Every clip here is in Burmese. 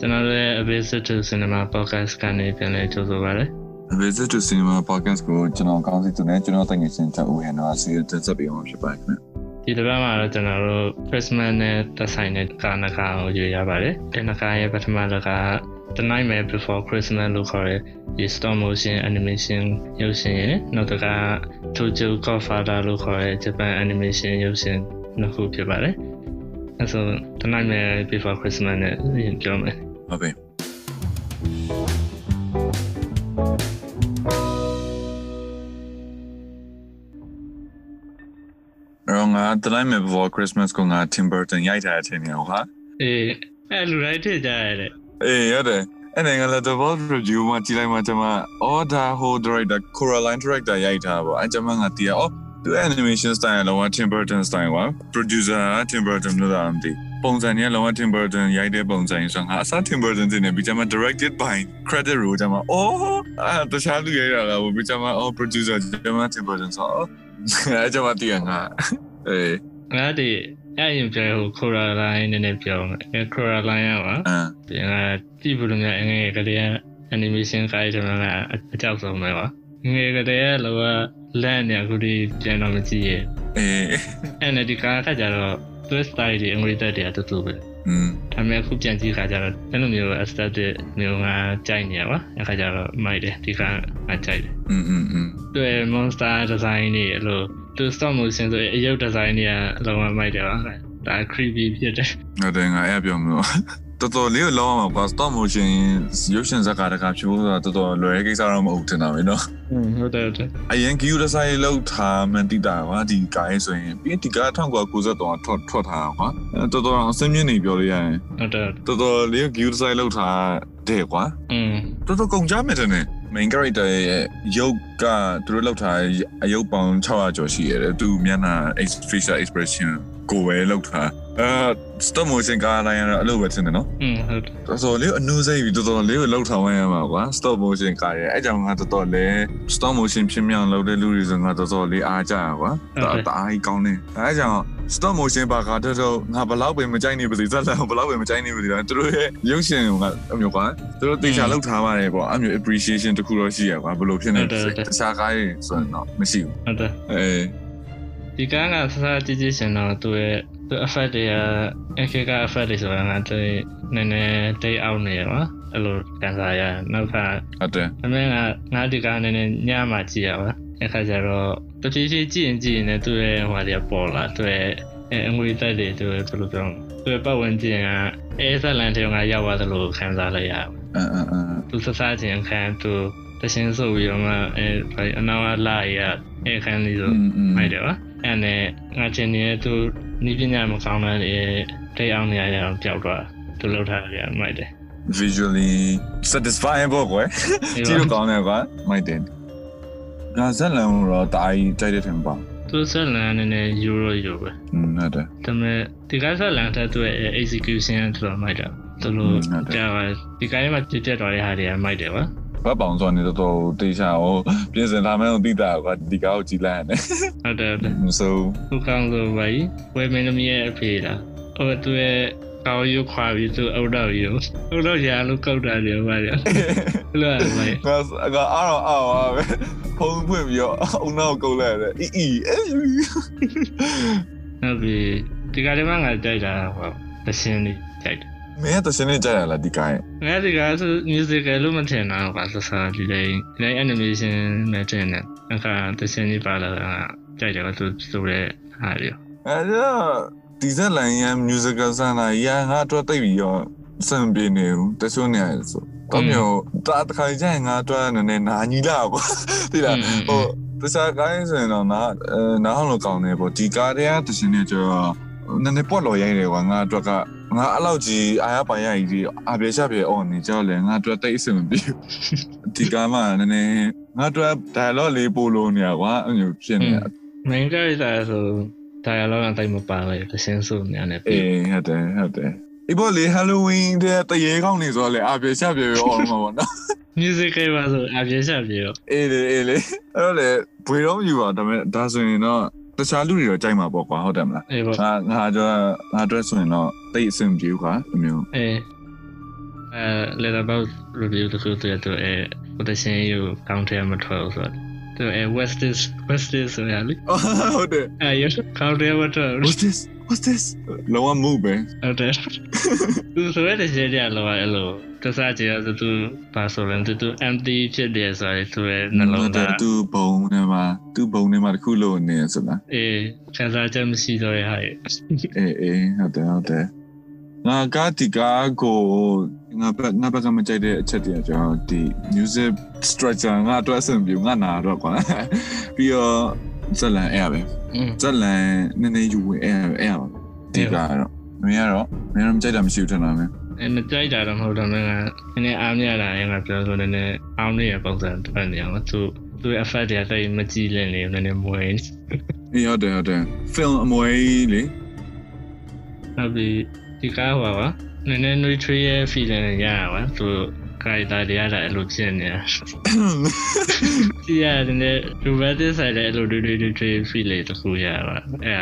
ကျွန်တော်တို့ရဲ့ A Visit to Cinema Podcast ကနေပြန်လည်ကြိုဆိုပါရစေ A visit to cinema podcast ကိုကျွန်တော်ကောင်းစီသူနဲ့ကျွန်တော်တိုင်ငယ်ချင်းတူဦးဟန်တော့ဆီတက်ဆက်ပြီးအောင်ဖြစ်ပါခင်ဗျ ဒီတစ်ပတ်မှာတော့ကျွန်တော်တို့ Christmas နဲ့သက်ဆိုင်တဲ့ကာနကာကိုရွေးရပါတယ်ဒီနကာရဲ့ပထမလက The Nightmare Before Christmas လို့ခေါ်တဲ့ဒီ stop motion animation ရုပ်ရှင်ရယ်နောက်တစ်ခါ Tokyo Godfather လို့ခေါ်တဲ့ Japan animation ရုပ်ရှင်နှစ်ခုဖြစ်ပါတယ်အဲဆို The Nightmare Before Christmas နဲ့ရင်ပြောမယ် ဟုတ်ပြီရောငါတလိုက်မဲ့ before christmas ကိုငါ Tim Burton ရိုက်ထားတဲ့အချိန်မျိုးဟာ အေးအဲ့လူတိုင်းထည့်ကြရတယ် အေးရတယ်အဲ့ဒါကလည်း the world review မှာကြည့်လိုက်မှကျွန်မ order whole director Coraline director ရိုက်ထားပါအဲ့ကျွန်မငါတီးရအော်သူ animation style ကလောက Tim Burton style ပါ producer က Tim Burton လို့သာမသိပုံစံကြီးကလောက Tim Burton ရိုက်တဲ့ပုံစံကြီးဆိုတော့ငါအစား Tim Burton တင်နေပြီးကျွန်မ directed by credit roll ကျွန်မအော်အဲ့တခြားလူရိုက်တာကဘယ်ကျွန်မအော် producer ကျွန်မ Tim Burton ဆိုတော့ အဲ့ကျွန်မတီးရငါအေး ငါဒီအဲ့ရင်ပြောဟို Coraline နည်းနည်းပြောမယ်အဲ့ Coraline ကပါ အမ် ပြင်ကကြည့်ဘူးလို့များအငယ်ကလေးက animation ကိုင်းတယ်မလားအကြောက်ဆုံးပဲပါအငယ်ကလေးကလောကလန့်နေအခုဒီပြန်တော့မကြည့်ရဲ့ အေး အဲ့နဲ့ဒီကားခါကြတော့ twist style တွေအငယ်တက်တယ်အတူတူပဲ อืม ဒါပေမဲ့အခုပြန်ကြည့်ခါကြတော့အဲ့လိုမျိုး aesthetic မျိုးကကြိုက်နေရပါအဲ့ခါကြတော့မိုက်တယ်ဒီကားကကြိုက်တယ် อืมอืมอืม တွေ့ monster design တွေအဲ့လို two stop motion ဆိုရင်အရုပ် design တွေကအလုံးဝမိုက်တယ်ပါဒါ creepy ဖြစ်တယ် ။ဟုတ်တယ်ငါအဲ့ပြောမလို့တော်တော်လေးကိုလောင်းအောင်ပါ stop motion ရုပ်ရှင်ဇာတ်ကားတကားဖြစ်ဖို့ဆိုတာတော်တော်လွယ်တဲ့ကိစ္စတော့မဟုတ်တင်တာပဲเนาะ อืมဟုတ်တယ်ဟုတ်တယ် ။အရင် GU design လောက်ထားမှန်တိတာကွာဒီကားရဲ့ဆိုရင်ပြီးဒီကား1993ကထွက်ထွက်ထားတာကွာ။အဲ့တော်တော်အောင်အစင်းမြင့်နေပြောလို့ရရင် ဟုတ်တယ်ဟုတ်တယ် တော်တော်လေးကို GU design လောက်ထားတဲ့ကွာ อืม ။တော်တော်ကုန်ကြမယ်တဲ့နဲ့ main character ရဲ့ရုပ်ကသူတို့လောက်ထားတဲ့အရုပ်ပေါင်း600ကျော်ရှိရတယ်။သူမျက်နှာ facial expression ကိုပဲလောက်ထား။အဲ stop motion ကားတိုင်းကတော့အဲ့လိုပဲတင်တယ်နော်။ อืมဟုတ်တယ် တော်တော်လေးအနူးစိတ်ပြီးတော်တော်လေးကိုလှုပ်ထောင်ရမှာကွာ stop motion ကားရဲအဲ့ကြောင့်ငါတော်တော်လေး stop motion ဖြစ်မြောင်လှုပ်တဲ့လူတွေဆိုငါတော်တော်လေးအားကြရကွာတတအားကြီးကောင်းနေအဲ့ကြောင့် stop motion ပါကတော့တော့ငါဘလောက်ပဲမ ကြိုက်နေပါစေဇက်လန်ဘလောက်ပဲမကြိုက်နေပါစေသူတို့ရဲ့ရုပ်ရှင်ကအမျိုးကွာသူတို့တေချာလှုပ်ထားပါတယ်ပေါ့အမျိုး appreciation တခုတော့ရှိရကွာဘလို့ဖြစ်နေတခြားကားတွေဆိုရင်တော့မရှိဘူး ဟုတ်တယ် အေး ဒီကန်းကဆဆကြည့်ကြည့်ရှင်တော့သူ့ရဲ့သူ effect တွေကအခေက effect တွေဆိုတာငါတိတ်နည်းနည်းတိတ်အောင်နေရပါအဲ့လိုကန်စားရနောက်ခါ ဟုတ်တယ် အမေကငါဒီကန်းနည်းနည်းညမှကြည့်ရပါအဲ့ခါကျတော့တဖြည်းဖြည်းကြည့်ရင်ကြည့်ရင်လည်းသူ့ရဲ့ဟိုဟာတွေကပေါ်လာသူ့ရဲ့အဲအငွေတက်တွေသူ့ရဲ့ဘယ်လိုပြောမလဲသူ့ရဲ့ပတ်ဝန်းကျင်ကအဲဆက်လန်တွေကရောက်သွားသလိုခံစားလိုက်ရပါ အင်းအင်းအင်း သူစစချင်းအခန်းသူတရှင်ဆိုပြီးတော့မှအဲဘာအနောက်ကလာရအဲ့ခန်းလေးဆိုမိုက်တယ်ပါအဲ့နဲ့ငါချင်းနေတဲ့သူနီးပညာမကောင်းတဲ့တိတ်အောင်နေရရအောင်ပျောက်သွားသူလှုပ်ထားကြမိုက်တယ် visually satisfying ပေါ့ကွာ ကြည့်လို့ကောင်းတယ်ကွာမိုက်တယ်ငါဇက်လန်ကိုတော့တအားကြီးတိုက်တဲ့ထင်ပါ သူဆက်လန်နေနေယူရောယူပဲ อืมဟုတ်တယ် ဒါပေမဲ့ဒီကဆက်လန်တဲ့သူရဲ့ execution ကတော်မိုက်တာသူလို့ကြာပါဒီကိုင်းမှာပြည့်ပြတ်တော်တဲ့ဟာတွေကမိုက်တယ်ပါ ဘတ်ပေါင်ဆိုနေတော့တော်တေချာဟောပြင်စင်လာမှန်းကိုသိတာကွာဒီကားကိုကြည်လိုက်ရတယ် ဟုတ်တယ်ဟုတ်တယ် မဆိုး သူကောင်းလို့ပါကြီးဝယ်မင်းသမီးရဲ့အဖေလားအော်သူရဲ့ကောင်းရုပ်ခွာပြီးသူအောက်တော့ရုပ်အောက်တော့ရအောင်လို့ကောက်တာတယ်ပါလေဘယ်လိုလဲ ငါငါအားတော့အားပါပဲဖုံးဖွင့်ပြီးတော့အုံနောက်ကိုကုတ်လိုက်ရတယ်အီအီ အေး နောက်ပြီးဒီကလေးမငါကြိုက်တာဟုတ်တရှင်လေးကြိုက်တယ် မင်းကတစနေကြရလားဒီကားရဲ့ ငါဒီကဆို musical လို့မထင်တာပါဆဆာဒီတိုင်းဒီတိုင်း animation နဲ့တင်တယ်အခါတရှင်လေးပါလာတာကကြိုက်တယ်ကသူဆိုတဲ့ဟာလေ အဲ့တော့ဒီဇက်လိုင်းရ musical ဆန်လာရငါအတွက်တိတ်ပြီးတော့စံပြနေဘူးတချို့နေရတယ်ဆိုတော့မျိုးတာတခါကြရင်ငါအတွက်နည်းနည်းနာညီလာကွာသိလား ဟိုတခြားကိုင်းဆိုရင်တော့နားအဲနားဟောင်းလိုကောင်းနေပေါ့ဒီကားတွေကတရှင်နဲ့ကျတော့နည်းနည်းပွက်လော်ရိုက်တယ်ကွာငါအတွက်ကငါအဲ့လောက်ကြီးအာရပါရကြီးဒီအပြေချပြေအော်နေကြောက်လဲငါအတွက်တိတ်အဆင်မပြေဘူးဒီကားမှနည်းနည်းငါအတွက် dialogue လေးပို့လို့နေရကွာအဲ့လိုဖြစ်နေ main character ဆို dialogue တိုင်းမပါလေတရှင်ဆိုညာနဲ့ အေ ပြီး းဟုတ်တယ်ဟုတ်တယ်ဒီပေါ်လေ Halloween တဲ့တရေကောင်းနေဆိုတော့လေအပြေချပြေအော်မှာပေါ့နော် musical ပါဆိုအပြည့်ချက်ပြီးတော့ အေးလေအေးလေအဲ့တော့လေဘွေတော့မယူပါဒါပေမဲ့ဒါဆိုရင်တော့တခြားလူတွေတော့ကြိုက်မှာပေါ့ကွာဟုတ်တယ်မလား အေးပေါ့ ငါငါတော့ငါအတွက်ဆိုရင်တော့တိတ်အဆင်မပြေဘူးကွာဒီမျိုး အဲ အဲ letterbox review တစ်ခုတွေ့ရတော့အဲ quotation ကို counter မထွက်ဘူးဆိုတော့သူအဲ west is west is ဆိုရလေ ဟုတ်တယ် အဲ you counter မထွက်ဘူး What's this What's this လောကမှုပဲ ဟုတ်တယ်သူဆိုရတဲ့ရှင်းကြလောအဲ့လိုတစားကြရဆိုသူဘာဆိုလဲသူသူ empty ဖြစ်တယ်ဆိုရယ်သူရဲ့နှလုံးသား သူ့ဘုံထဲမှာသူ့ဘုံထဲမှာတစ်ခုလို့နေရစလား အေးခံစားချက်မရှိတော့ရဟဲ့ အေးအေးဟုတ်တယ်ဟုတ်တယ်ငါကဒီကားကိုငါဘက်ငါဘက်ကမကြိုက်တဲ့အချက်တည်းကကျွန်တော်ဒီ music structure ငါအတွက်အဆင်ပြေငါနာတော့ ကွာပြီးတော့ဇက်လန်အဲ့ရပဲ อืม ဇက်လန်နည်းနည်းယူဝင်အဲ့ရပဲအဲ့ရပါဒီကားကတော့မင်းကတော့မင်းကတော့မကြိုက်တာမရှိဘူးထင်တာမင်း အဲမကြိုက်တာတော့မဟုတ်တော့မင်းကနည်းနည်းအားမရတာရင်ကပြောဆိုနည်းနည်းအားမရတဲ့ပုံစံထွက်နေအောင်သူသူရဲ့ effect တွေကတိတ်မကြည့်လင့်နေနည်းနည်းမွေး အေးဟုတ်တယ်ဟုတ်တယ် film အမွေလေ နောက်ပြီးဒီကားဟောပါနည်းနည်း neutral ရဲ့ feeling တွေရတာပါသူ character တွေကလည်းအဲ့လိုဖြစ်နေတာကြည့်ရတယ်နည်း romantic side လည်းအဲ့လို neutral neutral feel တွေတစ်ခုရပါအဲ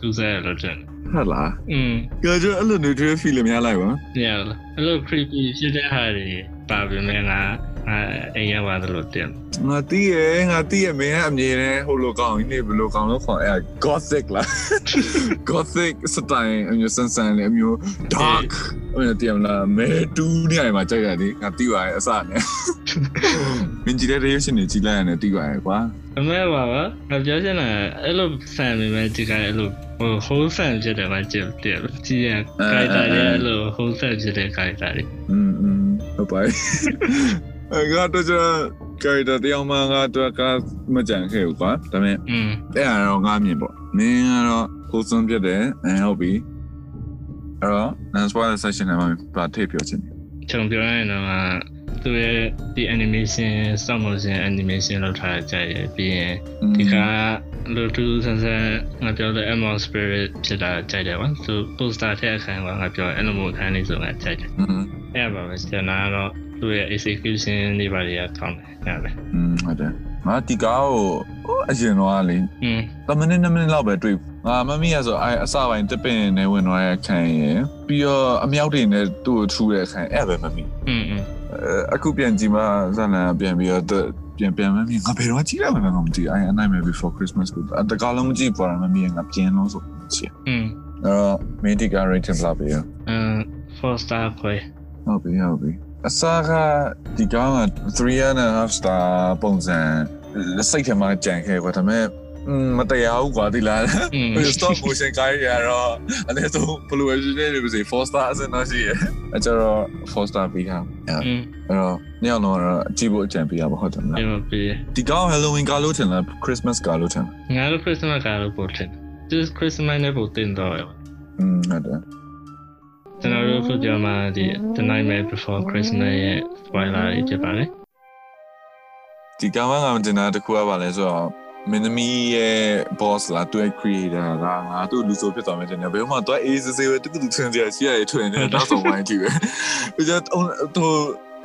သူစားရလို့တဲ့ ဟုတ်လား อืม ကဲကျွန်တော်အဲ့လို neutral feel များလိုက်ပါ ရလားအဲ့လို creepy ဖြစ်တဲ့ဟာတွေပါပဲမင်းကအဲအိမ်ရောက်သွားလို့တင် ငါတီးရယ်ငါတီးရယ်မင်းကအမြင်နဲ့ဟိုလိုကောင်းကြီးနေဘယ်လိုကောင်းလို့ခေါ်အဲ့ gothic လား gothic style အမျိုးစမ်းစမ်းလေးအမျိုး dark အဲ့ဒါတည်မလားမဲတူးနေရာမှာကြိုက်တာလေငါတီးပါရဲ့အစနဲ့မင်းကြည့်တဲ့ reaction တွေကြည့်လိုက်ရတယ်တီးပါရဲ့ကွာ အမေပါပါငါပြောချင်တာအဲ့လိုဆန်ပေမဲ့ဒီကအဲ့လိုဟို whole ဆန်ဖြစ်တယ်မှာကြည့်တယ်ကြည့်ရခိုက်တာလည်းအဲ့လို whole ဆန်ဖြစ်တဲ့ခိုက်တာလေ อืมอืมဟုတ်ပါရဲ့အကတော့ကျွန်တော် character တယောက်မှငါတော့ကမကြံခဲ့ဘူးကွာဒါပေမဲ့ อืม အဲ့ဒါတော့ငါမြင်ပေါ့မင်းကတော့ကိုယ်စွန်းပြတ်တယ်အဲဟုတ်ပြီအဲ့တော့ non spoiler section ထဲမှာပါထည့်ပြောချင်တယ် ခြုံပြောရရင်တော့သူရဲ့ဒီ animation stop motion animation လောက်ထားကြရပြီးရင်ဒီကလိုတူဆန်ဆန်ငါပြောတဲ့ Amon Spirit ဖြစ်တာကြိုက်တယ်ပါသူ poster ထည့်အခန်းကငါပြောအဲ့လိုမျိုးအခန်းလေးဆိုငါကြိုက်တယ် อืม အဲ့ပါပဲကျွန်တော်ကတော့သူရဲ့ execution တွေပါတွေကကောင်းတယ်ဟုတ်တယ် อืมဟုတ်တယ်ငါဒီကားကိုဟိုအရင်တော့ကလေ อืม 3မိနစ်2မိနစ်လောက်ပဲတွေ့ဘူးငါမမီးရဆိုအဲအစပိုင်းတစ်ပင်နဲ့ဝင်သွားတဲ့ခံရယ်ပြီးတော့အမြောက်တွေနဲ့သူ့ကိုထူတဲ့ခံအဲ့ဒါပဲမမီး อืมอืม အဲအခုပြန်ကြည့်မှဇာလန်ကပြန်ပြီးတော့ ပြန်ပြန်မမီးငါဘယ်တော့ကြည့်ရမှာလဲငါမသိဘူးအဲ a nightmare before christmas ကိုတကားလုံးမကြည့်ပါဘူးမမီးငါပြန်လို့ဆိုချင် อืม အဲ့တော့ medic rating လောက်ပြီးရ 嗯，four star ခွဲ ဟုတ်ပြီဟုတ်ပြီအစားကဒီကောင်က3 and a half star ပုံစံစိတ်ထဲမှာကြံခဲ့ကွာဒါပေမဲ့อืมမတရားဘူးကွာဒီလား 嗯 ဘယ် stop motion ကိုင်းရတော့အဲ့ဒါဆိုဘယ်လိုပဲဖြစ်နေလို့ဆို4 star အစနောက်ရှိရဲ့အကျတော့4 star ပြီးတာအဲ့ 嗯， တော့ညောင်တော့အကြည့်ဖို့အကြံပေးရပါဟုတ်တယ်မလား အဲ့မပြေ ဒီကောင် Halloween ကလို့ထင်လား Christmas ကလို့ထင်လား ငါတို့ Christmas ကလို့ပို့တယ်။ This Christmas နဲ့ပို့တင်တော့ရပါ อืมဟုတ်တယ် ကျွန်တော်တို့ခုပြောမှာဒီ The Nightmare Before Christmas ရဲ့ spoiler တွေဖြစ်ပါလေ ဒီကောင်ကငါမတင်တာတစ်ခုကပါလဲဆိုတော့မင်းသမီးရဲ့ boss လာသူရဲ့ creator ကငါတို့လူဆိုဖြစ်သွားမယ်တင်တယ်ဘယ်မှာသူက ace စေးပဲတူတူထင်စရာရှိရတယ်ထွင်တယ်နောက်ဆုံးဝိုင်းကြည့်ပဲပြီးတော့အုံသူ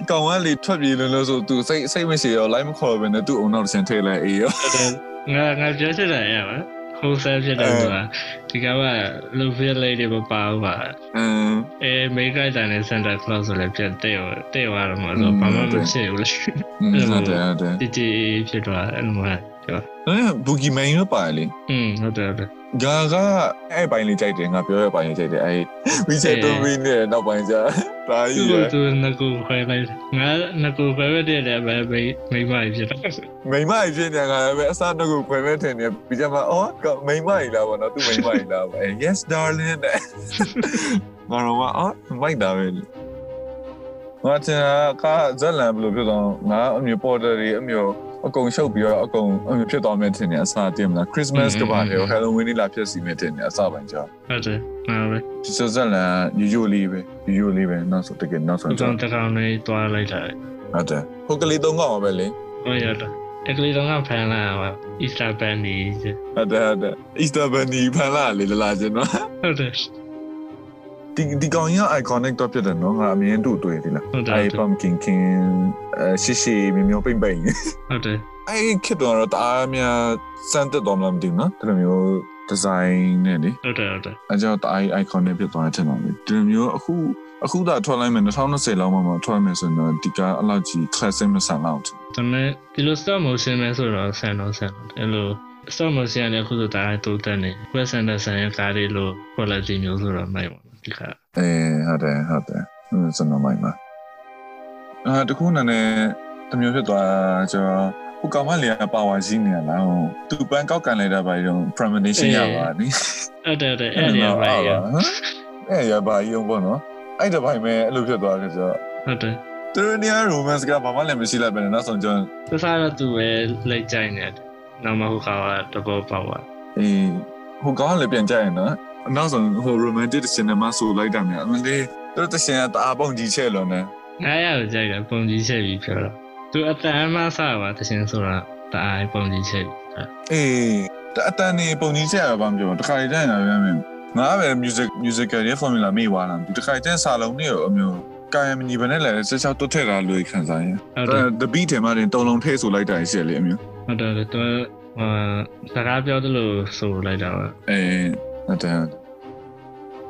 ကောင်ကလေထွက်ပြေးလို့လို့ဆိုသူစိတ်စိတ်မရှိရော line မခေါ်ဘဲနဲ့သူ့အုံနောက်တစ်ချက်ထည့်လိုက်အေးရော ။ငါငါပြောချင်တာအဲ့ပါ။ whole set ဖြစ်တယ်ဆိုတာဒီကဘာ low feel lady မပါဘူးပါ အင်း ။အဲ make guy တန်နဲ့ Santa Claus ဆိုလည်းပြတ်တဲ့တဲ့ရတော့မှာလို့ဘာမှမဖြစ်ဘူးလေ ဟုတ်တယ်ဟုတ်တယ် ။တီတီဖြစ်သွားအဲ့လိုမှပြော အဲဘူဂီမန်ရောပါလေ ။อืมဟုတ်တယ်ဟုတ်တယ်။ ဂါကအဲ့ပိုင်းလေးကြိုက်တယ်ငါပြောရပိုင်းလေးကြိုက်တယ်အဲ့ဝီချက်တူမီနဲ့နောက်ပိုင်းကျဒါ သူ ကြီးရ သူငါကိုခွဲလိုက်။ငါငါကိုပဲပဲတဲ့တယ်ပဲမိမဖြစ်တာ။ မိမကြီးဖြစ်နေတာကလည်းပဲအစတော့ကိုဖွယ်မဲ့ထင်နေပြီးကြမှာအော်ကမိမကြီးလားဗောနော်သူမိမကြီးလားဗော Yes darling တဲ့ငါတော့ကအော်မိုက်တာပဲလေငါတင်တာကဇက်လန်ဘယ်လိုဖြစ်သွားလဲငါအမျိုးပေါ်တာတွေအမျိုးအကုန်ရှုပ်ပြီးတော့အကုန်အမျိုးဖြစ်သွားမဲ့ထင်နေအစတင်မလား Christmas อืม ကပါလေ อืม Halloween လေးလာဖြစ်စီမဲ့ထင်နေအစပိုင်းကြောင့် ဟုတ်တယ်ငါပဲ ဒီစဇက်လန်ကယူယူလေးပဲယူယူလေးပဲနောက်ဆုံးတကယ်နောက် သူ ဆုံး က ကြောင့် တကောင်လေးတွားလိုက်တာ ဟုတ်တယ်ဟိုကလေးသုံးကောင်ပါပဲလေ ဟုတ်ရတယ်တကယ်တော့ငါဖန်လာပါ Easter Bunny ဟုတ်တယ်ဟုတ်တယ် Easter Bunny ဖန်လာလေလာလာကျွန်တော် ဟုတ်တယ် ဒီဒီကောင်ကြီးက iconic တော့ဖြစ်တယ်နော်ငါအမြင်တူတွေ့သေးလား ဟုတ်တယ် အဲ pumpkin king အဲရှီရှီမြေမြောပိမ့်ပိမ့် ဟုတ်တယ် အဲခစ်တော်တော့တအားများစမ်းတက်တော်မလားမသိဘူးနော်ဒီလိုမျိုး ဒီဇိုင်းနဲ့လေ ဟုတ်တယ်ဟုတ်တယ် အကြောင်းတအား icon နဲ့ဖြစ်သွားတဲ့ထင်ပါလေဒီလိုမျိုးအခုအခုသာထွက်လိုက်မယ်2020လောက်မှမထွက်မယ်ဆိုရင်တော့ဒီကားအလောက်ကြီး classic မဆန်တော့ဘူး ဒါပေမဲ့ဒီလို stop motion ပဲဆိုတော့ဆန်တော့ဆန်တယ်အဲ့လို stop motion ကလည်းအခုဆိုဒါတိုးတက်နေ Wes Anderson ရဲ့ကားတွေလို quality မျိုးဆိုတော့မိုက်ပါဘူးဒီခါ အဲဟုတ်တယ်ဟုတ်တယ်ဟုတ်စနော်မိုင်ပါအာတခုနာနဲ့တမျိုးဖြစ်သွားကျွန်တော်ဟိုကောင်မလေးကပါဝါရှိနေရလားဟိုသူပန်းကောက်ကန်လိုက်တာပါရုံ premonition ရပါနိ အဲ့တဲ့တဲ့အဲ့ဒီဘာရ အဲ့ရပါရုံပေါ့နော်အဲ့တပိုင်းပဲအဲ့လိုဖြစ်သွားတယ်ဆိုတော့ ဟုတ်တယ် သူတို့နေရ romance ကဘာမှလည်းမရှိလိုက်ပဲနဲ့နောက်ဆုံးကျွန်တော် သစားတော့သူပဲလိုက်ကြိုက်နေတယ်နောက်မှဟိုကောင်ကတဘောပေါက်သွား เออဟိုကောင်ကလည်းပြန်ကြရင်နော်အနောက်ဆုံးဟို romantic တစ်ရှင်နဲ့မဆိုလိုက်တာများအမလေးသူတို့တစ်ရှင်ကတအားပုံကြီးချဲ့လို့နဲ့ နားရကိုကြိုက်တယ်ပုံကြီးချက်ပြီးပြောတော့သူအတန်အမဆပါတရှင်ဆိုတာတအားပုံကြီးချက်ပြီးတာ အေးတအတန်နေပုံကြီးချဲ့ရပါမပြောတခါကြရင်လည်းပြန်မင်းငါပဲ music musical ရဲ့ formula မေ့သွားတာဒီတခါကျရင်စာလုံးတွေရောအမျိုးကာယမညီပဲနဲ့လည်းဆက်ချောက်တွတ်ထက်တာလို့ခံစားရင် ဟုတ် အဲ တယ် the beat ထဲမှာတင်တုံလုံးထည့်ဆိုလိုက်တာရှိရလေအမျိုး ဟုတ်တယ်ဟုတ်တယ်သူအာစကားပြောသလိုဆိုလိုက်တာပါ အဲဟုတ်တယ်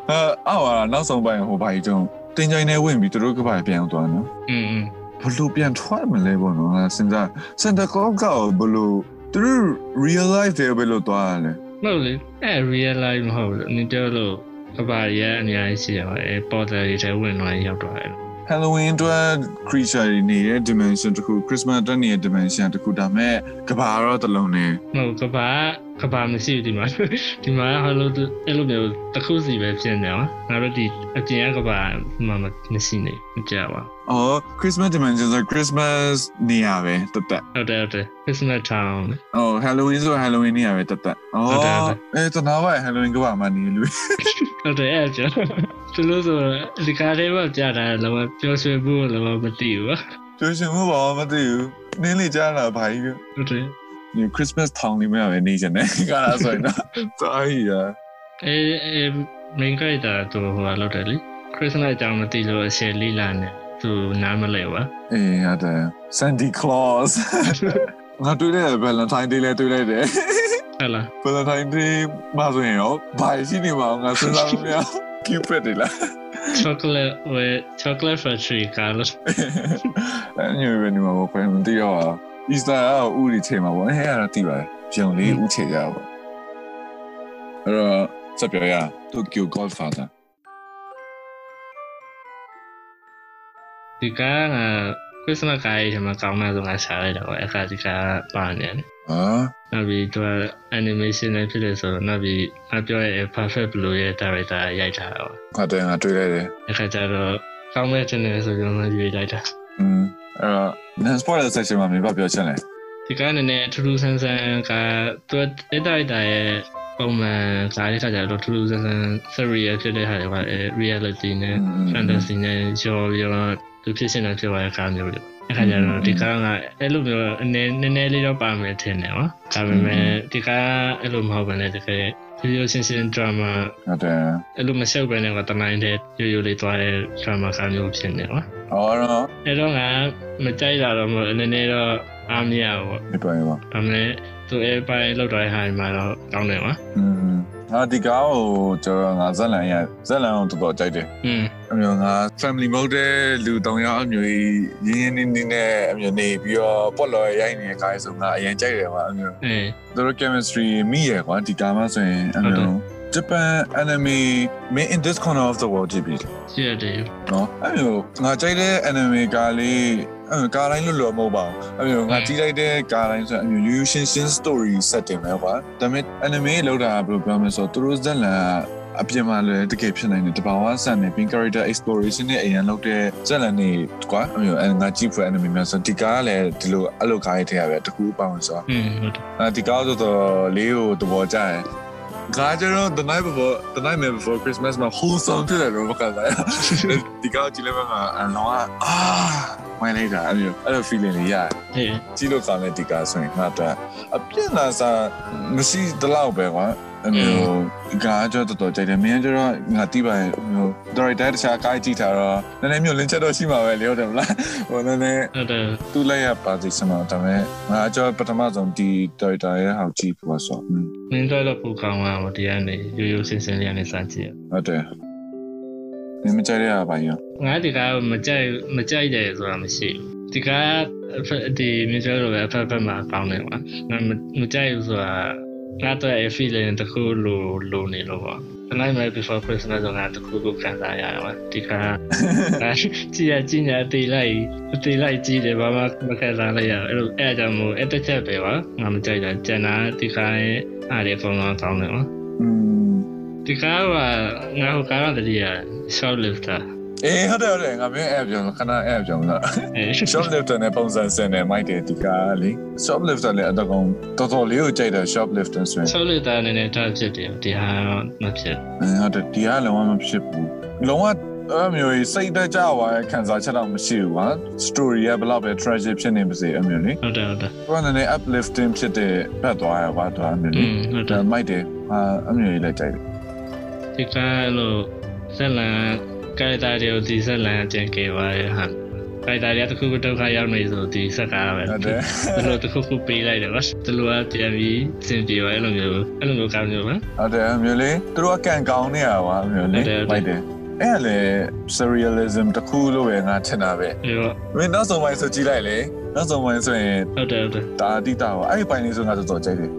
ဟာအော်ဟာနောက်ဆုံးပိုင်းဟိုဘာကြီးတုံးတင်ကြိုင်နဲ့ဝင်ပြီးသူတို့ကဘာပြန်သွားနော် อืมอืม ဘလို့ပြန်ထွက်မလဲပေါ့နော်ငါစဉ်းစားစန်တာကောကကိုဘလို့သူတို့ real life တွေဘယ်လိုသွားရလဲ မဟုတ်လေအဲ real life မဟုတ်ဘူးနင်ပြောလို့အပါရအများကြီးရှိရပါတယ်အဲ portal တွေထဲဝင်လာရောက်သွားတယ် Halloween အတွက် creature တွေနေတဲ့ dimension တစ်ခု Christmas အတွက်နေတဲ့ dimension တစ်ခုဒါပေမဲ့ကဘာတော့တစ်လုံးနဲ့ မဟုတ်ကဘာကဘာမရှိဘူးဒီမှာဒီမှာဟိုလိုအဲ့လိုမျိုးတစ်ခုစီပဲဖြစ်နေအောင်ငါတို့ဒီအပြင်ကကဘာမှမရှိနေမကြပါ အော် Christmas dimension ဆို Christmas နေရာပဲတက်တက် ဟုတ်တယ်ဟုတ်တယ် Christmas town အော် Halloween ဆို Halloween နေရာပဲတက်တက် ဟုတ်တယ်ဟုတ်တယ်အော်အဲတနာပါ Halloween ကဘာမှနေလို့ ဟုတ်တယ်အဲ့ကျန်သူလို့ဆိုတော့ဒီကားလေးပဲကြာတာလောကပျော်ရွှင်ဖို့လောကမသိဘူးပေါ့ ကြိုးရှင်မှုပါမသိဘူးနင်းလေကြားလာဘာကြီးလဲ ဟုတ်တယ် Christmas town နေမှာပဲနေချင် တယ်ခါလာဆို ရင်တော့တာကြီးရာ အဲအဲ main character သူဟိုကလောက်တယ်လေ Christmas အကြောင်းမသိလို့အရှယ်လီလာနဲ့သူနားမလဲပါ เออฮะแต่ Santa Claus ငါတွေ့တဲ့ Valentine Day လဲတွေ့လိုက်တယ် ဟုတ်လား Valentine Day မှာဆိုရင်ရောဘာရှိနေမှာငါစဉ်းစားလို့မရ Cupid တွေလား chocolate with chocolate factory ကလို့ အဲ့ညဘယ်နေမှာပေါ့ခွဲမသိတော့ပါ Easter ကဥရီချိန်မှာပေါ့ဟဲ့အဲ့ဒါတော့သိပါတယ်ပြုံလေးဥချိန်ကြတာပေါ့အဲ့တော့စက်ပြောရ Tokyo Godfather ဒီကားက Christmas ကားရဲ့ဒီမှာကောင်းတဲ့ဆုံးကရှာလိုက်တော့အခါဒီကားပါနေတယ် ဟာ နောက်ပြီးသူက animation နဲ့ဖြစ်တယ်ဆိုတော့နောက်ပြီးအပြောရဲ့ perfect blue ရဲ့ director ရိုက်ထားတာပါ ငါတည်းငါတွေ့လိုက်တယ် အခါကျတော့ကောင်းမဲ့တင်တယ်ဆိုကျွန်တော်ရွေးလိုက်တာ อืมအဲ့တော့ Transport Section မှာမြင်ပါပြောချင်လဲ ဒီကအနေနဲ့ထူးထူးဆန်းဆန်းကသူတက်တိုက်တာရဲ့ပုံမှန်ဇာတ်ရည်ခါကျတော့ထူးထူးဆန်းဆန်း serial ဖြစ်တဲ့ဟာတွေကအဲ reality နဲ့ fantasy နဲ့ genre ရောသူဖြစ်စင်တာဖြစ်သွားတဲ့ကားမျိုးတွေအခါကျတော့ဒီကားကအဲ့လိုမျိုးအနေနည်းနည်းလေးတော့ပါမယ်ထင်တယ်နော်ဒါပေမဲ့ဒီကားအဲ့လိုမဟုတ်ဘဲနဲ့တကယ်ရိုးရိုးရှင်းရှင်း drama ဟုတ်တယ် အဲ့လိုမရှုပ်ဘဲနဲ့ကတမိုင်းတဲ့ရိုးရိုးလေးသွားတဲ့ drama ကားမျိုးဖြစ်နေနော် ။အော်တော့ အဲ့တော့ငါမကြိုက်တာတော့မဟုတ်နည်းနည်းတော့အားမရဘူးပေါ့ ဒီပိုင်းပါ ဒါပေမဲ့သူအဲပိုင်းလောက်တိုင်းဟာဒီမှာတော့ကောင်းတယ်ကွာ ။อืมငါဒီကောင်ကိုကျွန်တော်ငါဇက်လန်ရဇက်လန်ကိုတော်တော်ကြိုက်တယ် อืม ။အမျိုးငါ family mode တဲ့လူတောင်ရောက်အမျိုးကြီးရင်းရင်းနေနေနဲ့အမျိုးနေပြီးတော့ပွက်လော်ရိုက်နေတဲ့ကားဆိုငါအရင်ကြိုက်တယ်ကွာအမျိုး အဲ ။သူတို့ chemistry မိရယ်ကွာဒီကောင်မှဆိုရင်အ ဟုတ်တယ် မျိုး Japan anime main in this corner of the world ကြည့်ပြီ ရှိရတယ် ။နော်အမျိုးငါကြိုက်တဲ့ anime ကားလေးအမျိုးကားတိုင်းလွတ်လွတ်မဟုတ်ပါဘူးအမျိုးငါကြည့်လိုက်တဲ့ကားတိုင်းဆိုရင်အမျိုးရိုးရိုးရှင်းရှင်း story setting ပဲကွာဒါပေမဲ့ anime လောက်တာကဘယ်လိုပြောမလဲဆိုတော့သူတို့ဇက်လန်ကအပြင်မှာလည်းတကယ်ဖြစ်နိုင်တယ်တဘာဝဆန်နေ pin character exploration နဲ့အရင်လောက်တဲ့ဇက်လန်တွေကွာအမျိုးအဲ့ငါကြည့်ဖွယ် anime များဆိုဒီကားကလည်းဒီလိုအဲ့လိုကားတွေထည့်ရပဲတကူပါဝင်ဆိုတော့ อืมဟုတ်တယ် အာဒီကောက်တော့တော်လေးကိုသဘောကျတယ်။ငါကျတော့ the night before the night before Christmas မှာ whole song ဖြစ်တယ်လို့မကစားရ။ဒီကောက်ကြည့်လိုက်မှကအလောင်းကအာဝင်လိုက်တာအဲ့လိုအဲ့လို feeling လေးရတယ် အေး ။ကြည့်လို့ကောင်းတဲ့ဒီကောက်ဆိုရင်ငါအတော့အပြစ်လာစားမရှိတလောက်ပဲကွာ အဲ့လိုငါကြောတော်တော်ကြိုက်တယ်မင်းကကျတော့ငါတိပါရင်ဟို director တခြားကားကြည့်တာတော့နည်းနည်းမျိုးလင်းချက်တော့ရှိမှာပဲလေဟုတ်တယ်မလားဟိုနည်းနည်း ဟုတ်တယ် သူ့လိုက်ရပါသေးစမှာဒါပေမဲ့ငါကြောပထမဆုံးဒီ director ရဲ့ဟောက်ကြည့်ပါဆိုတော့ မင်းတို့လည်းပူကောင်းအောင်တရားနေရိုးရိုးစင်စင်လေးကနေစကြည့် ဟုတ်တယ်မင်းမကြိုက်ရပါဘူး ရငါဒီကားကိုမကြိုက်မကြိုက်တယ်ဆိုတာမရှိဘူးဒီကားအဖက်ဒီမင်းတို့လိုပဲအဖက်ဖက်မှာကောင်းတယ်ကွာငါမမကြိုက်ဘူးဆိုတာငါတော့ feeling တစ်ခုလိုလိုနေလို့ပေါ့ tonight my before christmas ဆိုတာတစ်ခုခုခံစားရတယ်ကွာဒီကား အဲ့ကြည်ရကြည်ညာတေးလိုက်တေးလိုက်ကြည်တယ်ဘာမှမခက်စားလိုက်ရဘူးအဲ့လိုအဲ့ဒါကြောင့်မို့အဲ့တစ်ချက်ပဲပါငါမကြိုက်တာကျန်တာဒီခါရင်အားရပုံတော့ကောင်းတယ်နော် อืม ဒီခါကငါဟိုကားတော့တတိယ short lifter เออဟုတ်တယ်ဟုတ်တယ်ငါမင်း app ပြောလို့ခဏ app ပြောလို့ အဲ့ shoplifter နဲ့ပုံစံစင်နဲ့ mic တွေဒီကလေ shoplifter လည်းအတော့ကောင်တော်တော်လေးကိုကြိုက်တယ် shoplifter ဆိုရင် short lifter နည်းနည်းတော့ဖြစ်တယ်ဒီဟာတော့မဖြစ် အင်းဟုတ်တယ်ဒီကလုံးဝမဖြစ်ဘူးလုံးဝအဲ့မျိုးကြီးစိတ်တက်ကြွားရဲ့ခံစားချက်တော့မရှိဘူးကွာ story ကဘယ်လောက်ပဲ tragic ဖြစ်နေပါစေအမျိုးလေ ဟုတ်တယ်ဟုတ်တယ် ကိုယ်ကလည်း uplifting ဖြစ်တဲ့ဖတ်သွားရပါတော့အမျိုး อื လေ มဟုတ်တ ဒါ ယ် mic တွေအာအမျိုးကြီးလည်းကြိုက်တယ် ဒီခါအဲ့လိုဇက်လန်ကာရက်တာတွေကိုဒီဇက်လန်အကျင့်ကေပါရဲ့ဟာကာရက်တာတွေကတစ်ခုခုဒုက္ခရောက်နေဆိုဒီဇက်ကားပဲ ဟုတ်တယ် ဘယ်လိုတစ်ခုခုပေးလိုက်တယ်ဗျသူတို့ကပြန်ပြီးစင်ပြေပါအဲ့လိုမျိုးအဲ့လိုမျိုးကောင်းမျိုးဗျ ဟုတ်တယ်အမျိုးလေသူတို့ကကန်ကောင်းနေတာပါအမျိုးလေ ဟုတ်တယ်ဟုတ် mic တယ် တွေအဲ့ဒါလေ surrealism တစ်ခုလို့ပဲငါထင်တာပဲ အဲ့တော့ မင်းနောက်ဆုံးပိုင်းဆိုကြည့်လိုက်လေနောက်ဆုံးပိုင်းဆိုရင် ဟုတ်တယ်ဟုတ်တယ် ဒါအတိတာပါအဲ့ဒီပိုင်းလေးဆိုငါတော်တော်ကြိုက်တယ်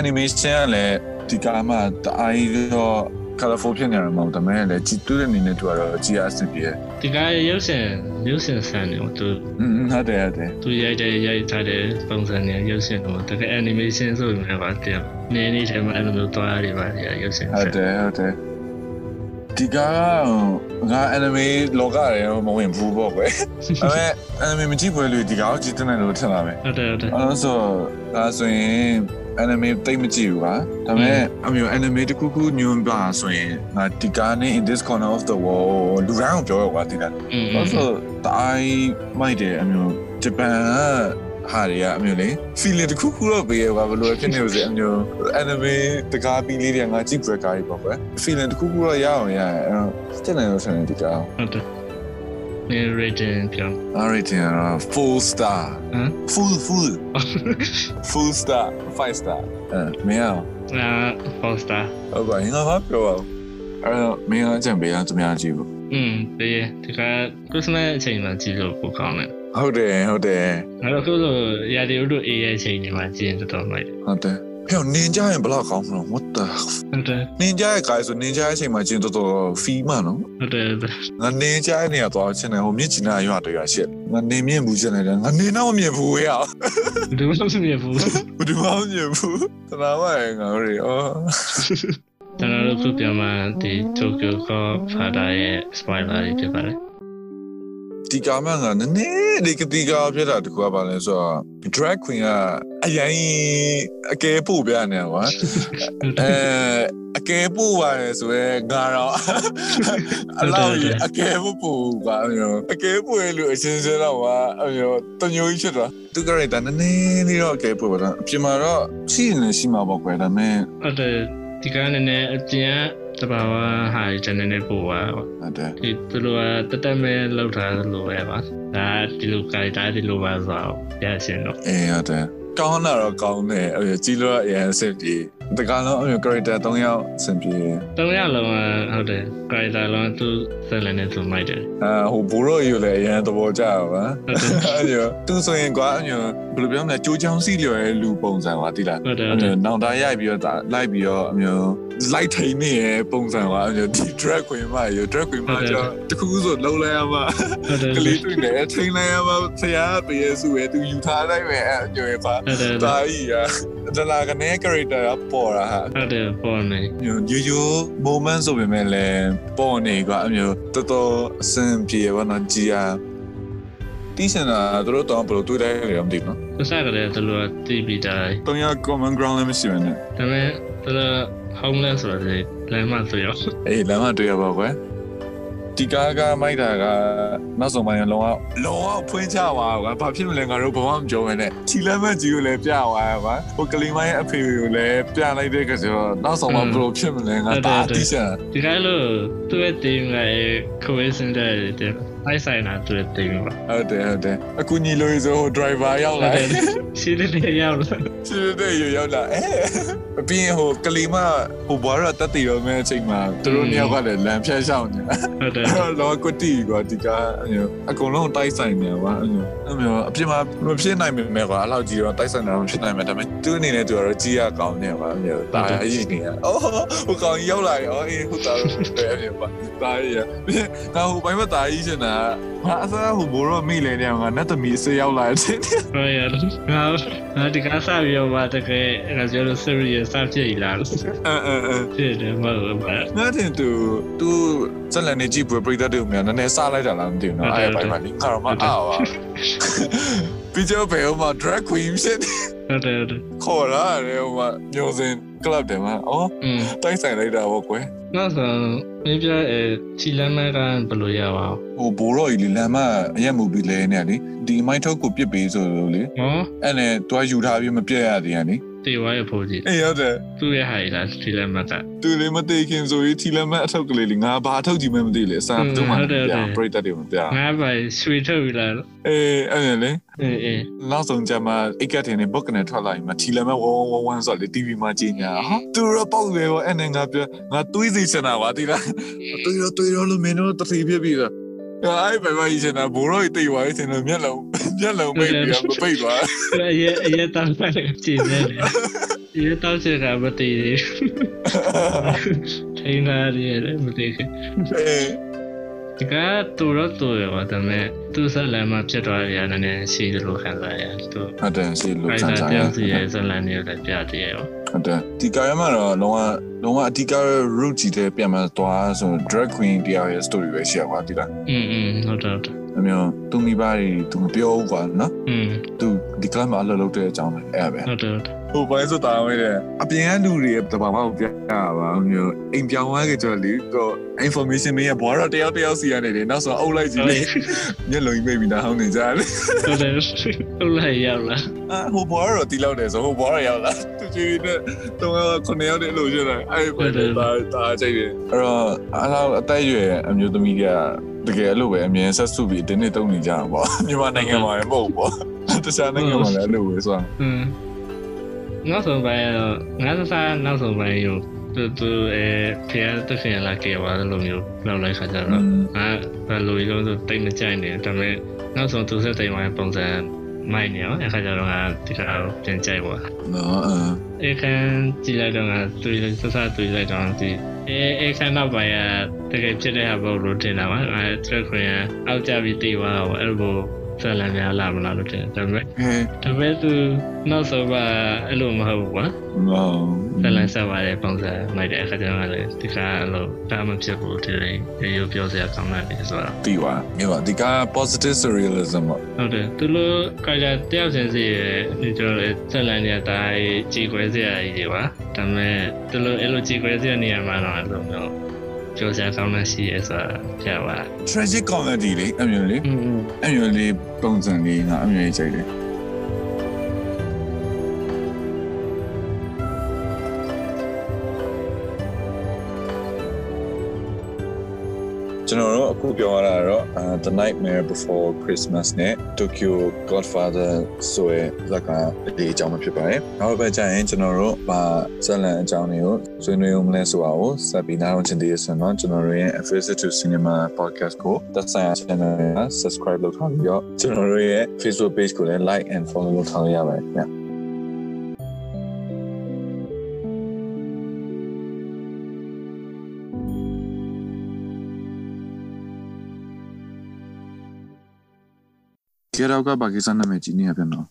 animation ကလည်းဒီကာမှတအားကြီးတော့ colorful ဖြစ်နေရမှာမဟုတ်ဒါပေမဲ့လည်းကြည့်တွေ့တဲ့အနေနဲ့တူတော့ကြည့်ရအဆင်ပြေတယ် ဒီကရုပ်ရှင်ရုပ်ရှင်ဆန်တယ်သူ อืมဟုတ်တယ်ဟုတ်တယ် သူရိုက်တယ်ရိုက်ထားတယ်ပုံစံနဲ့ရုပ်ရှင်တော့တကယ် animation ဆိုပေမဲ့ဗျတဲ့နည်းနည်းထဲမှာအဲ့လိုမျိုးသွားရတယ်ဗျရုပ်ရှင် ဟု ဆ တ် န် တယ်ဟုတ်တယ်ဒီကာကငါ anime လောကရဲမဝင်ဘူးပေါ့ ကွယ်ဒါပေမဲ့ anime မကြည့်ပွဲလို့ဒီကာကိုကြည့်တဲ့နယ်လို့ထင်တာပဲ ဟုတ်တယ်ဟုတ်တယ် အဲ့တော့ဆိုဒါဆိုရင် anime တိတ်မကြည့်ဘူးကွာဒါပေမဲ့အမျိုး anime တစ်ခုခုညွန်ပါဆိုရင်ငါဒီကားနဲ့ in this corner of the world လူတိုင်းကိုပြောရကွာဒီကား อืม ဘာလို့ဆိုတိုင်မိုက်တယ်အမျိုးဂျပန်ကဟာတွေကအမျိုးလေ feeling တစ်ခုခုတော့ပေးရကွာဘယ်လိုဖြစ်နေလို့စေအမျိုး anime တကားပြီးလေးတွေကငါကြည့်ပွဲကားကြီးပေါ့ကွာ feeling တစ်ခုခုတော့ရအောင်ရရအဲ့တော့စစ်နေလို့ဆိုရင်ဒီကား ဟုတ်တယ် narration ပြောင်း rating ကတော့ full star ဟမ် full full full star five star အဲမင်းအောင် အာ poster ဟုတ်ပါရင်ငါဘာပြောပါဦးအဲ့တော့မင်းအကြံပေးရသူများကြည့်ဘူး อืมဒီဒီက Christmas အချိန်မှာကြည့်လို့ပိုကောင်းတယ် ဟုတ်တယ်ဟုတ်တယ် အဲ့တော့ခုလိုရာသီဥတုအေးရဲ့အချိန်တွေမှာကြည့်ရင်တော်တော်မိုက် ဟုတ်တယ်ပြောနင်ကြရင်ဘယ်လောက်ကောင်းမလို့ what the f- ဟုတ်တယ် နင်ကြရဲ့ guys ဆိုနင်ကြရဲ့အချိန်မှာကျင်တော်တော်ဖီးမှနော် ဟုတ်တယ်ဟုတ်တယ် ငါနင်ကြရဲ့နေရာသွားချင်းတယ်ဟိုမြစ်ချင်နာရွာတွေရွာရှစ်ငါနင်မြင့်ဘူးချင်းတယ်ငါနင်တော့မမြင်ဘူးရအောင် ဘယ်သူမှမမြင်ဘူး ဘယ်သူမှမမြင်ဘူးတနာမရငါတို့တွေအော် ကျွန်တော်တို့ခုပြန်မှဒီ Tokyo Godfather ရဲ့ spoiler တွေဖြစ်ပါတယ် ဒီကာမန်ကနည်းနည်းဒီကတိကာဖြစ်တာတကူကပါလဲဆိုတော့ drag queen ကအရင်အကဲပို့ပြနေတယ်ကွာ ဟုတ်တ အဲ ယ် အကဲပို့ပါတယ်ဆိုရဲငါတော့အလောက်ကြီးအကဲပို့ပို့ပါအမျိုးအကဲပို့ရလို့အချင်းချင်းတော့ပါအမျိုးတမျိုးကြီးဖြစ်သွားသူကရိုက်တာနည်းနည်းလေးတော့အကဲပို့ပါတော့အပြင်မှာတော့ရှိနေရှိမှာပေါ့ကွယ်ဒါပေမဲ့ ဟုတ်တယ်ဒီကနေ့နဲ့အပြင်ကတဘာဝဟာကျွန်တော်နဲ့ပို့ပါ ဟုတ်တယ် ဒီသူတို့ကတတ်တတ်မဲ့လောက်တာလို့ပဲပါဒါဒီလို character ဒီလိုပါဆိုတော့ပြရှင်းတော့ အေးဟုတ်တယ်ကောင်းတာတော့ကောင်းတယ်အမျိုးကြီးလို့ကအရင်အဆင်ပြေတကယ်လုံးအမျိုးကရိုက်တာ၃ယောက်အဆင်ပြေ တုံးရလုံးကဟုတ်တယ် character လုံးကသူဆက်လက်နေသူမိုက်တယ် အာဟိုဘိုးရောယူလည်းအရင်သဘောကျတာပါ ဟုတ်တယ် အဲ့ညသူဆိုရင်ကွာအဲ့ညဘယ်လိုပြောမလဲကြိုးချောင်းစီလျော်ရဲ့လူပုံစံပါတိလား ဟုတ်တယ် အဲ့ ဟုတ်တယ်ညနောင်တရိုက်ပြီးတော့ဒါလိုက်ပြီးတော့အမျိုးလိုက်ထိန်နေရဲ့ပုံစံပါအဲ့ညဒီ drag queen မရေ drag queen မကြောင့်တခုခုဆိုလှုပ်လိုက်ရမှာ ဟုတ်တယ် က ဟုတ်တယ် လေးတွေ့နေထိန်လိုက်ရမှာဆရာကတရေစုရဲ့သူယူထားလိုက်မယ်အဲ့ညရဲ့ပါ ဟုတ်တယ် ဒါကြီးอ่ะဒလာကနေ character ကပေါ်တာဟာ ဟုတ်တယ်ပေါ်နေ မျိုးရိုးရိုး moment ဆိုပေမဲ့လည်းပေါ်နေကွာအမျိုးတော်တော်အဆင်ပြေပါတော့ကြည်ရတီးစင်တာသူတို့တောင်းဘယ်လိုတွေ့လိုက်လဲတော့မသိဘူးနော် သူစားကြတယ်သူတို့ကတီးပြီးတာ တော့ရ common ground လည်းမရှိဘူးနဲ့ ဒါပေမဲ့သူက homeless ဆိုတော့ဒီလမ်းမဆိုရော အေးလမ်းမတွေ့ရပါကွယ် ဒီကားကမိုက်တာကနောက်ဆုံးပိုင်းကလုံအောင်လုံအောင်ဖွင့်ချပါကွာဘာဖြစ်မလဲငါတို့ဘဝမကြုံရနဲ့ခြိလက်မကြီးကိုလည်းပြသွားကွာဟိုကလေးမရဲ့အဖေကိုလည်းပြလိုက်တဲ့ကဆိုတော့နောက်ဆုံးမှာဘယ်လိုဖြစ်မလဲငါဒါအတိအကျ ဒီကလို့သူ့ရဲ့ team က coincidence တဲ့အိုက်ဆိုင်နာသူ့ရဲ့ team ပါ ဟုတ်တယ်ဟုတ်တယ်အကူညီလို့ရဆိုဟို driver ရောက်လာတယ် ရှိတဲ့နေရာရောက်လာ ချစ်တဲ့ရရောက်လာအဲအပြင်ဟိုကလေးမဟိုဘွားရတက်တည်ရောမဲ့အချိန်မှာသူတို့နှစ်ယောက်ကလည်းလမ်းဖြတ်ရှောင်နေတာ ဟုတ် တယ် အဲ့တော့ကွတီကွာဒီကအမျိုးအကုန်လုံးတိုက်ဆိုင်နေပါအမျိုးအမျိုးအပြင်မှာမဖြစ်နိုင်ပေမဲ့ကွာအဲ့လောက်ကြီးတော့တိုက်ဆိုင်တာမဖြစ်နိုင်ပေမဲ့ဒါပေမဲ့သူအနေနဲ့သူကတော့ကြီးရကောင်းနေပါအမျိုးဒါအရေးနေရ အော်ဟိုကောင်ရောက်လာရောအေးဟိုတာတော့ပဲအမျိုးပါဒါရငါဟိုဘိုင်းမတားကြီး ရှင်တာငါအစားဟိုဘိုးတော့မိလဲနေအောင်ငါနတ်သမီးအစေးရောက် လာတဲ့ ဟုတ်ရငါငါဒီကစားပြီးတော့ဗာတကယ်ငါပြောလို့ serious စဖြစ်လာလို့ အင်းအင်းအင်း ဖြစ်တယ်မဟုတ်ဘူး ငါတင်သူသူဇက်လန်နေကြည့်ပွဲပြိတတ်တယ်ဦးမြန်နည်းနည်းစားလိုက်တာလားမသိဘူးနော် ဟုတ်တယ် အဲ့ဘိုင်မှာလေကာရမအားပါပြီးကြောဘယ်ဟိုမှာ drag queen ဖြစ်တယ် ဟုတ်တယ်ဟုတ်တယ် ခေါ်လာတယ်ဟိုမှာမျိုးစင် club တယ်မှာအော် อืม တိုက်ဆိုင်လိုက်တာပေါ့ကွယ် နောက်ဆုံးမင်းပြအဲခြီလမ်းမကဘယ်လိုရပါအောင် ဟိုဘိုးတော်ကြီးလေလမ်းမအရက်မူပြီးလဲနေရလေဒီမိုင်းထုတ်ကိုပြစ်ပေးဆိုလို့လေ ဟော အဲ့နဲ့တွားယူထားပြီးမပြတ်ရသေးရနေ တေဝါရဖို့ကြီး အေးဟုတ်တယ် သူ့ရဲ့ဟာရလားခြီလမ်းမက သူလေးမသိခင်ဆိုရင်ထီလမ်းမအထောက်ကလေးလေငါဘာအထောက်ကြည့်မှမသိလေအစားဘယ်သူမှမ ဟုတ်တယ်ဟုတ်တယ် ပြပြိတတ်တယ်မပြ ငါပါရွှေထုတ်ပြီလား အေးအဲ့နဲ့လေ အေးအေး နောက်ဆုံးကြမှာအိတ်ကတ်တင်နေဘုတ်ကနေထွက်လာပြီးမှထီလာမဲ့ဝဝဝဝဆိုတော့လေ TV မှာကြည့်ညာဟာသူရောပေါက်တယ်ကွာအဲ့နဲ့ငါပြောငါတွေးစီချင်တာပါဒီလားတွေးရောတွေးရောလို့မင်းတို့တတိဖြစ်ပြီးတော့ အဲ့ဘယ်မှာကြီးချင်တာဘိုးတော်ကြီးတိတ်သွားပြီချင်တော့မျက်လုံးမျက်လုံးပိတ်ပြီးတော့မပိတ် သွား အရေးအရေးတောင်းပါလေခြီလမ်း လေအရေးတောင်းချက်ကမတည်သေးဘူး ထိန်းလာရတယ်မတည်ခင် အေး တကယ်သူတော့သူရောဒါပေမဲ့သူ့ဆက်လမ်းမဖြစ်သွားရတာနည်းနည်းရှိတယ်လို့ခံစားရတယ်သူ ဟုတ်တယ်စီလို့ အဲ့ စမ်း ဒါ စားရ ပြော ဟ င်းစီရဲ့ဆက်လမ်းတွေလည်းပြတည်ရော ုတ်တယ်ဒီကာရမှာတော့လုံးဝလုံးဝအဓိက route ကြီးတဲ့ပြန်မသွားဆို drag queen တရားရဲ့ story ပဲရှိရပါဒီလား อืมๆဟုတ်တယ် အမျိုးသူမိဘတွေသူမပြောဘူးကွာနော် อืม သူဒီကလပ်မှာအလုပ်လုပ်တဲ့အကြောင်းပဲအဲ့ဒါပဲ ဟုတ်တယ် ဟိုဘိုင်းဆိုတာဝဲတယ်အပြင်ကလူတွေတဘာမှမပြရပါဘူးမျိုးအိမ်ပြောင်းသွားကြကြလေတော့ information မင်းရဘွားတော့တယောက်တယောက်စီရတယ်လေနောက်ဆိုအုပ်လိုက်ကြည့် လေညက်လုံးကြီးမိတ်ပြီးတော့ဟောင်းနေကြလေ ဟုတ်တယ်ဟုတ်လားရောက်လား အာဟိုဘွားတော့တီလောက်တယ်ဆိုဟိုဘွားတော့ရောက်လာသူကြီးနဲ့တော့ခုနှစ်ယောက်တည်းလို့ရတာအဲ့ဘယ်လိုဒါဒါကြိုက်တယ်အဲ့တော့အားလုံးအသက်အရွယ်အမျိုးသမီးကတကယ်အဲ့လိုပဲအမြင်ဆက်စုပြီးတင်းနေတုံနေကြတာပေါ့ မြန်မာနိုင်ငံမှာလည်းမဟုတ်ဘူးပေါ့တခြားနိုင်ငံမှာလည်းအဲ့လိုပဲဆိုတာ ဟွန်းနောက်ဆုံးပိုင်းတော့ငါစစားနောက်ဆုံးပိုင်းရောသူသူအဲဖျားတစ်ဖျားလာကြပါလို့မျိုးလောက်လိုက်ခါကြတော့ငါဘယ်လိုလုံးဆိုတိတ်မကြိုက်နေဒါပေမဲ့နောက်ဆုံးသူဆက်တိတ်မှပုံစံမိုက်နေရောအခါကြတော့ငါဒီကောင်ပြန်ကြိုက်ပါ နော်အာ အခန်းကြည့်လိုက်တော့ငါတွေ့လိုက်စစတွေ့လိုက်တော့ဒီအဲအခန်းနောက်ပိုင်းကတကယ်ဖြစ်တဲ့ဟာဘုတ်လို့တင်တာပါအဲ track ခွင်ကအောက်ကြပြီးတေးသွားတော့အဲ့လိုဆက်လန်များလာမလားလို့တင်တယ်ဒါပေမဲ့ ဟဲ့ ဒါပေမဲ့သူနောက်ဆုံးကအဲ့လိုမဟုတ်ဘူးကွာ နော် ဆက်လန်ဆက်သွားတဲ့ပုံစံလိုက်တဲ့အခါကျတော့လည်းဒီကအဲ့လိုဒါမှမဖြစ်ဘူးဒီလိုရိုးပြောစရာကောင်းတယ်ဆိုတော့ တီးပါမြေပါဒီက positive surrealism ပေါ့ ဟုတ်တယ်သူတို့ကာကြတယောက်ချင်းစီရဲ့ဒီကျွန်တော်ဆက်လန်နေတဲ့အတိုင်းကြည်ခွဲစရာကြီးတွေပါဒါပေမဲ့သူတို့အဲ့လိုကြည်ခွဲစရာနေရာမှာတော့အဲ့လိုမျိုးကြောစရာကောင်းတဲ့ရှိရဲ့ဆိုတာပြပါ tragic comedy လေးအမျိုးလေး อืม အမျိုးလေးပုံစံလေးငါအမျိုးလေးကြိုက်တယ်ကျွန်တော်တို့အခုပြောရတာကတော့ uh, The Nightmare Before Christmas နဲ့ Tokyo Godfather ဆိုရဲဇာတ်ကားဒီအကြောင်းပဲဖြစ်ပါတယ်။နောက်တစ်ပတ်ကျရင်ကျွန်တော်တို့ဗာဇတ်လန်အကြောင်းတွေကိုဆွေးနွေးအောင်မလဲဆိုတာကိုစက်ပြီးနားအောင်ချင်သေးရဆိုရင်တော့ကျွန်တော်တို့ရဲ့ Visit to Cinema Podcast ကိုတက်ဆိုင်ရာ channel နဲ့ subscribe လုပ်ထားပြီးတော့ကျွန်တော်တို့ရဲ့ Facebook page ကိုလည်း like and follow လုပ်ထားလို့ရပါတယ်ခင်ဗျာ။ Get out ကဘာကိစ္စနာမည်ကြီးနေရပြန်တော့